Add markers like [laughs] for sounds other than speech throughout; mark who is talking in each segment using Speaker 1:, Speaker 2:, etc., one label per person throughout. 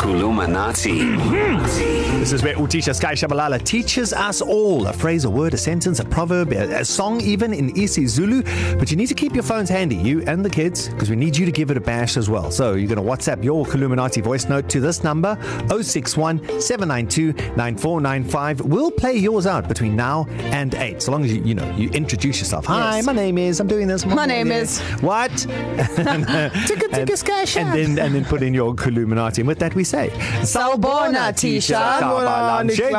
Speaker 1: Kulumanati.
Speaker 2: This is where Utisha Sky Shabalala teaches us all a phrase, a word, a sentence, a proverb, a, a song, even in Isi Zulu. But you need to keep your phones handy, you and the kids, because we need you to give it a bash as well. So you're going to WhatsApp your Kuluminati voice note to this number 061 792 9495. We'll play yours out between now and 8, so long as you, you know, you introduce yourself. Hi, yes.
Speaker 3: Yes.
Speaker 2: my name is, I'm doing this.
Speaker 3: My name is-
Speaker 2: What?
Speaker 3: Ticka ticka sky
Speaker 2: and then and then put in your Kuluminati. And with that, we say,
Speaker 3: Sawubona, Tisha.
Speaker 2: Sawubona,
Speaker 4: Ninjani
Speaker 2: Njegu.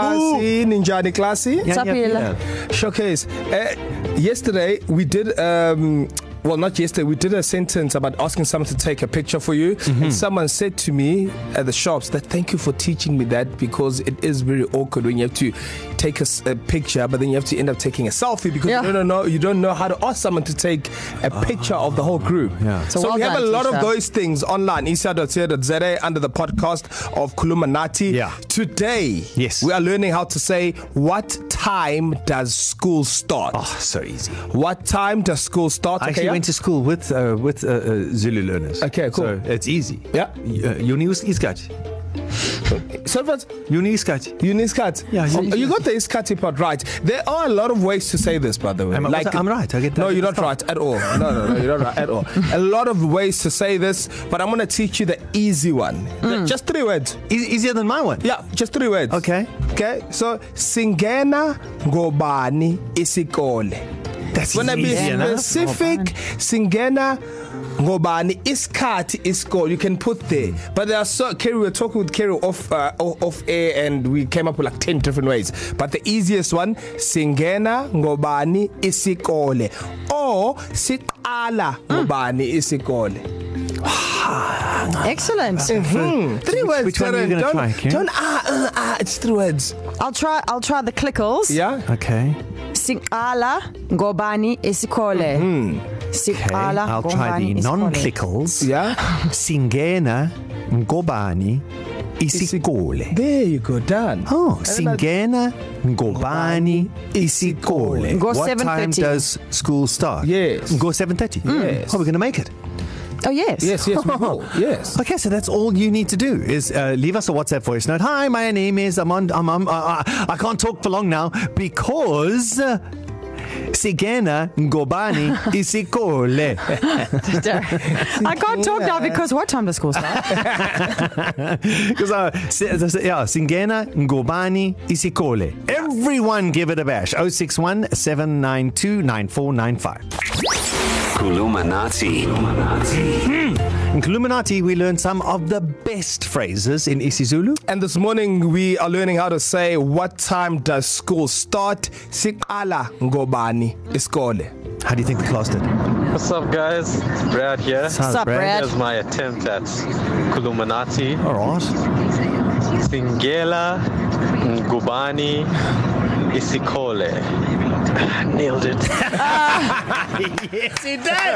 Speaker 4: Classy, Ninjani Classy.
Speaker 2: Yeah, yeah,
Speaker 3: Tapiola.
Speaker 2: yeah.
Speaker 4: Showcase. Uh, yesterday we did. Um, well, not yesterday. We did a sentence about asking someone to take a picture for you, mm-hmm. and someone said to me at the shops that thank you for teaching me that because it is very awkward when you have to take a, s- a picture, but then you have to end up taking a selfie because
Speaker 3: Yeah.
Speaker 4: yeah. you don't know you don't know how to ask someone to take a picture of the whole group.
Speaker 2: Ah, yeah.
Speaker 4: So,
Speaker 3: So
Speaker 4: so
Speaker 3: well
Speaker 4: we have
Speaker 3: done,
Speaker 4: a lot
Speaker 3: Tisha.
Speaker 4: of those things online. Isa.co.za under the podcast of Kulumanati.
Speaker 2: Yeah.
Speaker 4: Today,
Speaker 2: Yes.
Speaker 4: we are learning how to say what time does school start?
Speaker 2: Oh, so easy.
Speaker 4: What time does school start?
Speaker 2: I actually
Speaker 4: yeah?
Speaker 2: went to school with uh, with uh, uh, Zulu learners.
Speaker 4: Okay, cool.
Speaker 2: So it's easy. uh,
Speaker 4: Yeah.
Speaker 2: Juni is iskat.
Speaker 4: So what?
Speaker 2: Juni iskat.
Speaker 4: You need scat.
Speaker 2: Yeah,
Speaker 4: you,
Speaker 2: you-
Speaker 4: you got the iscati part right. There are a lot of ways to say this, by the way.
Speaker 2: Am I- I'm right, I get that.
Speaker 4: No, you're not
Speaker 2: Stop.
Speaker 4: right at all. No, no, no, you're not right at all. A lot of ways to say this, but I'm going to teach you the easy one. Mm. Just three words.
Speaker 2: E- easier than my one.
Speaker 4: Yeah, just three words.
Speaker 2: Okay.
Speaker 4: Okay. So singena ngobani isikole.
Speaker 2: That's
Speaker 4: When I be
Speaker 2: easier, no?
Speaker 4: specific, singena ngobani isikhathi isikole you can put there. But there are so Kerry we were talking with Kerry off uh, o- off air and we came up with like 10 different ways. But the easiest one singena ngobani isikole or siqala ngobani isikole.
Speaker 2: [laughs]
Speaker 3: Excellent. Mhm.
Speaker 4: Mm-hmm. Three
Speaker 2: which-
Speaker 4: words.
Speaker 2: which one are you gonna
Speaker 4: Terence, don't,
Speaker 2: try, Kerry?
Speaker 4: Don't ah uh, ah it's three words.
Speaker 3: I'll try. I'll try the clickles.
Speaker 4: Yeah?
Speaker 2: Okay.
Speaker 3: Sikala ngobani isikole. Mm-hmm.
Speaker 2: Okay.
Speaker 3: Sikala
Speaker 2: I'll try the
Speaker 3: ngobani isikole.
Speaker 2: non-clickles.
Speaker 4: Yeah.
Speaker 2: Singena ngobani isikole.
Speaker 4: There you go, done.
Speaker 2: Oh, singena ngobani isikole.
Speaker 3: Ngo
Speaker 2: What time
Speaker 3: 7:30.
Speaker 2: does school start?
Speaker 4: Yes.
Speaker 2: Go 7:30.
Speaker 4: Yes.
Speaker 2: Oh, we're going to make it.
Speaker 3: Oh yes. [laughs]
Speaker 4: Yes, yes, we will. Yes.
Speaker 2: Okay, so that's all you need to do is uh, leave us a WhatsApp voice note. Hi, my name is I'm on. I'm, I'm, uh, uh, I can't talk for long now because. uh, Sigena Ngobani Isikole. [laughs]
Speaker 3: I can't talk now because what time does
Speaker 2: [laughs]
Speaker 3: school start?
Speaker 2: Because uh, si- yeah, Singena Ngobani Isikole. Everyone give it a bash. 061 792 9495.
Speaker 1: Kulumanati. Kulumanati.
Speaker 2: In Kuluminati, we learned some of the best phrases in isiZulu.
Speaker 4: And this morning we are learning how to say what time does school start? Sikala ngobani iskole.
Speaker 2: How do you think the class did?
Speaker 5: What's up, guys? It's Brad here.
Speaker 2: Sounds
Speaker 3: up,
Speaker 2: brave.
Speaker 3: Brad?
Speaker 5: Here's my attempt at Kulumanati.
Speaker 2: All right.
Speaker 5: Singela Ngubani Isikole. Nailed it.
Speaker 2: yes, he did.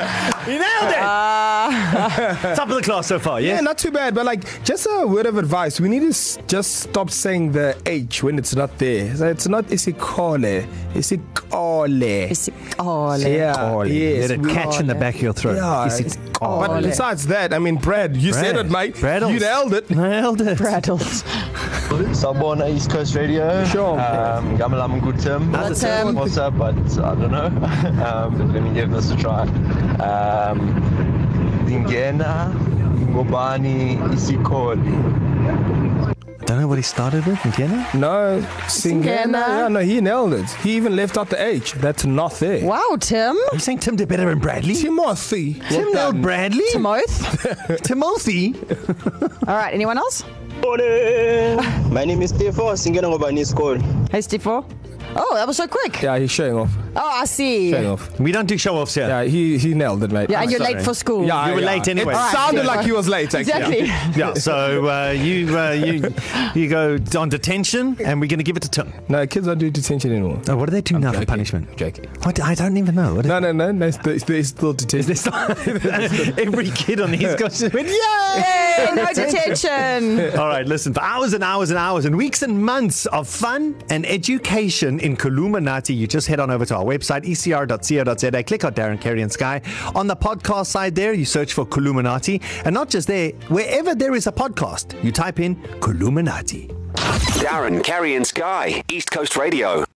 Speaker 2: He nailed it. [laughs] Top of the class so far,
Speaker 4: Yeah,
Speaker 2: yes?
Speaker 4: not too bad, but like just a word of advice. We need to s- just stop saying the H when it's not there. So it's not isikole, isikole.
Speaker 3: Isikole.
Speaker 4: Yeah, yes.
Speaker 2: Let it
Speaker 4: we-
Speaker 2: catch in the back of your throat.
Speaker 4: Yeah,
Speaker 2: Is it
Speaker 4: it's- But besides that, I mean, Brad, you Brad. said
Speaker 2: Brad.
Speaker 4: it, mate.
Speaker 2: Braddles.
Speaker 4: You nailed it.
Speaker 2: Nailed it.
Speaker 3: Rattles.
Speaker 6: Sabona East Coast Radio.
Speaker 4: Sure.
Speaker 6: Um, Gamalam Gutim.
Speaker 2: How's
Speaker 3: it, Tim?
Speaker 6: What's up? But I don't know. [laughs] Um, let me give this a try. Um, Dingena Ngobani Isikoli.
Speaker 2: I don't know what he started with, Indiana.
Speaker 4: No, Singena.
Speaker 3: Singena.
Speaker 4: Yeah, no, he nailed it. He even left out the H. That's not there.
Speaker 3: Wow,
Speaker 2: [laughs]
Speaker 3: Tim.
Speaker 2: Are you saying Tim did better than Bradley?
Speaker 4: Timothy.
Speaker 2: Tim nailed Bradley?
Speaker 3: Timoth.
Speaker 2: Timothy?
Speaker 3: All right. Anyone else?
Speaker 7: My name is Stefan, singena ngoba ni school.
Speaker 3: Hey, Stifo. Oh, that was so quick.
Speaker 4: Yeah, he's showing off.
Speaker 3: Oh, I see.
Speaker 4: Showing off.
Speaker 2: We don't do show offs here.
Speaker 4: Yeah, he he nailed it, mate.
Speaker 3: Yeah, and
Speaker 4: I'm
Speaker 3: you're
Speaker 4: sorry.
Speaker 3: late for school.
Speaker 4: Yeah,
Speaker 2: You were
Speaker 4: yeah.
Speaker 2: late anyway.
Speaker 4: It
Speaker 2: Alright,
Speaker 4: sounded
Speaker 3: yeah.
Speaker 4: like he was late. Actually.
Speaker 3: Exactly.
Speaker 2: Yeah, so uh, you, uh, you you go on detention, and we're going to give it to Tim.
Speaker 4: No, kids don't do detention anymore.
Speaker 2: Oh, what do they do I'm now joking.
Speaker 4: joking,
Speaker 2: for punishment?
Speaker 4: I'm joking.
Speaker 2: What? I don't even know. What is
Speaker 4: No, no, no. no they, they still detention.
Speaker 2: this? [laughs] Every kid on the East Coast is with, yay!
Speaker 3: Yay,
Speaker 2: [laughs]
Speaker 3: no detention.
Speaker 2: All right, listen, for hours and hours and hours and weeks and months of fun and education in, in Kaluminati, you just head on over to our website, E ecr.co.za, click on Darren Carey and Sky. On the podcast side there, you search for Kaluminati. And not just there, wherever there is a podcast, you type in Kaluminati.
Speaker 1: Darren, Carrie, and Sky, East Coast Radio.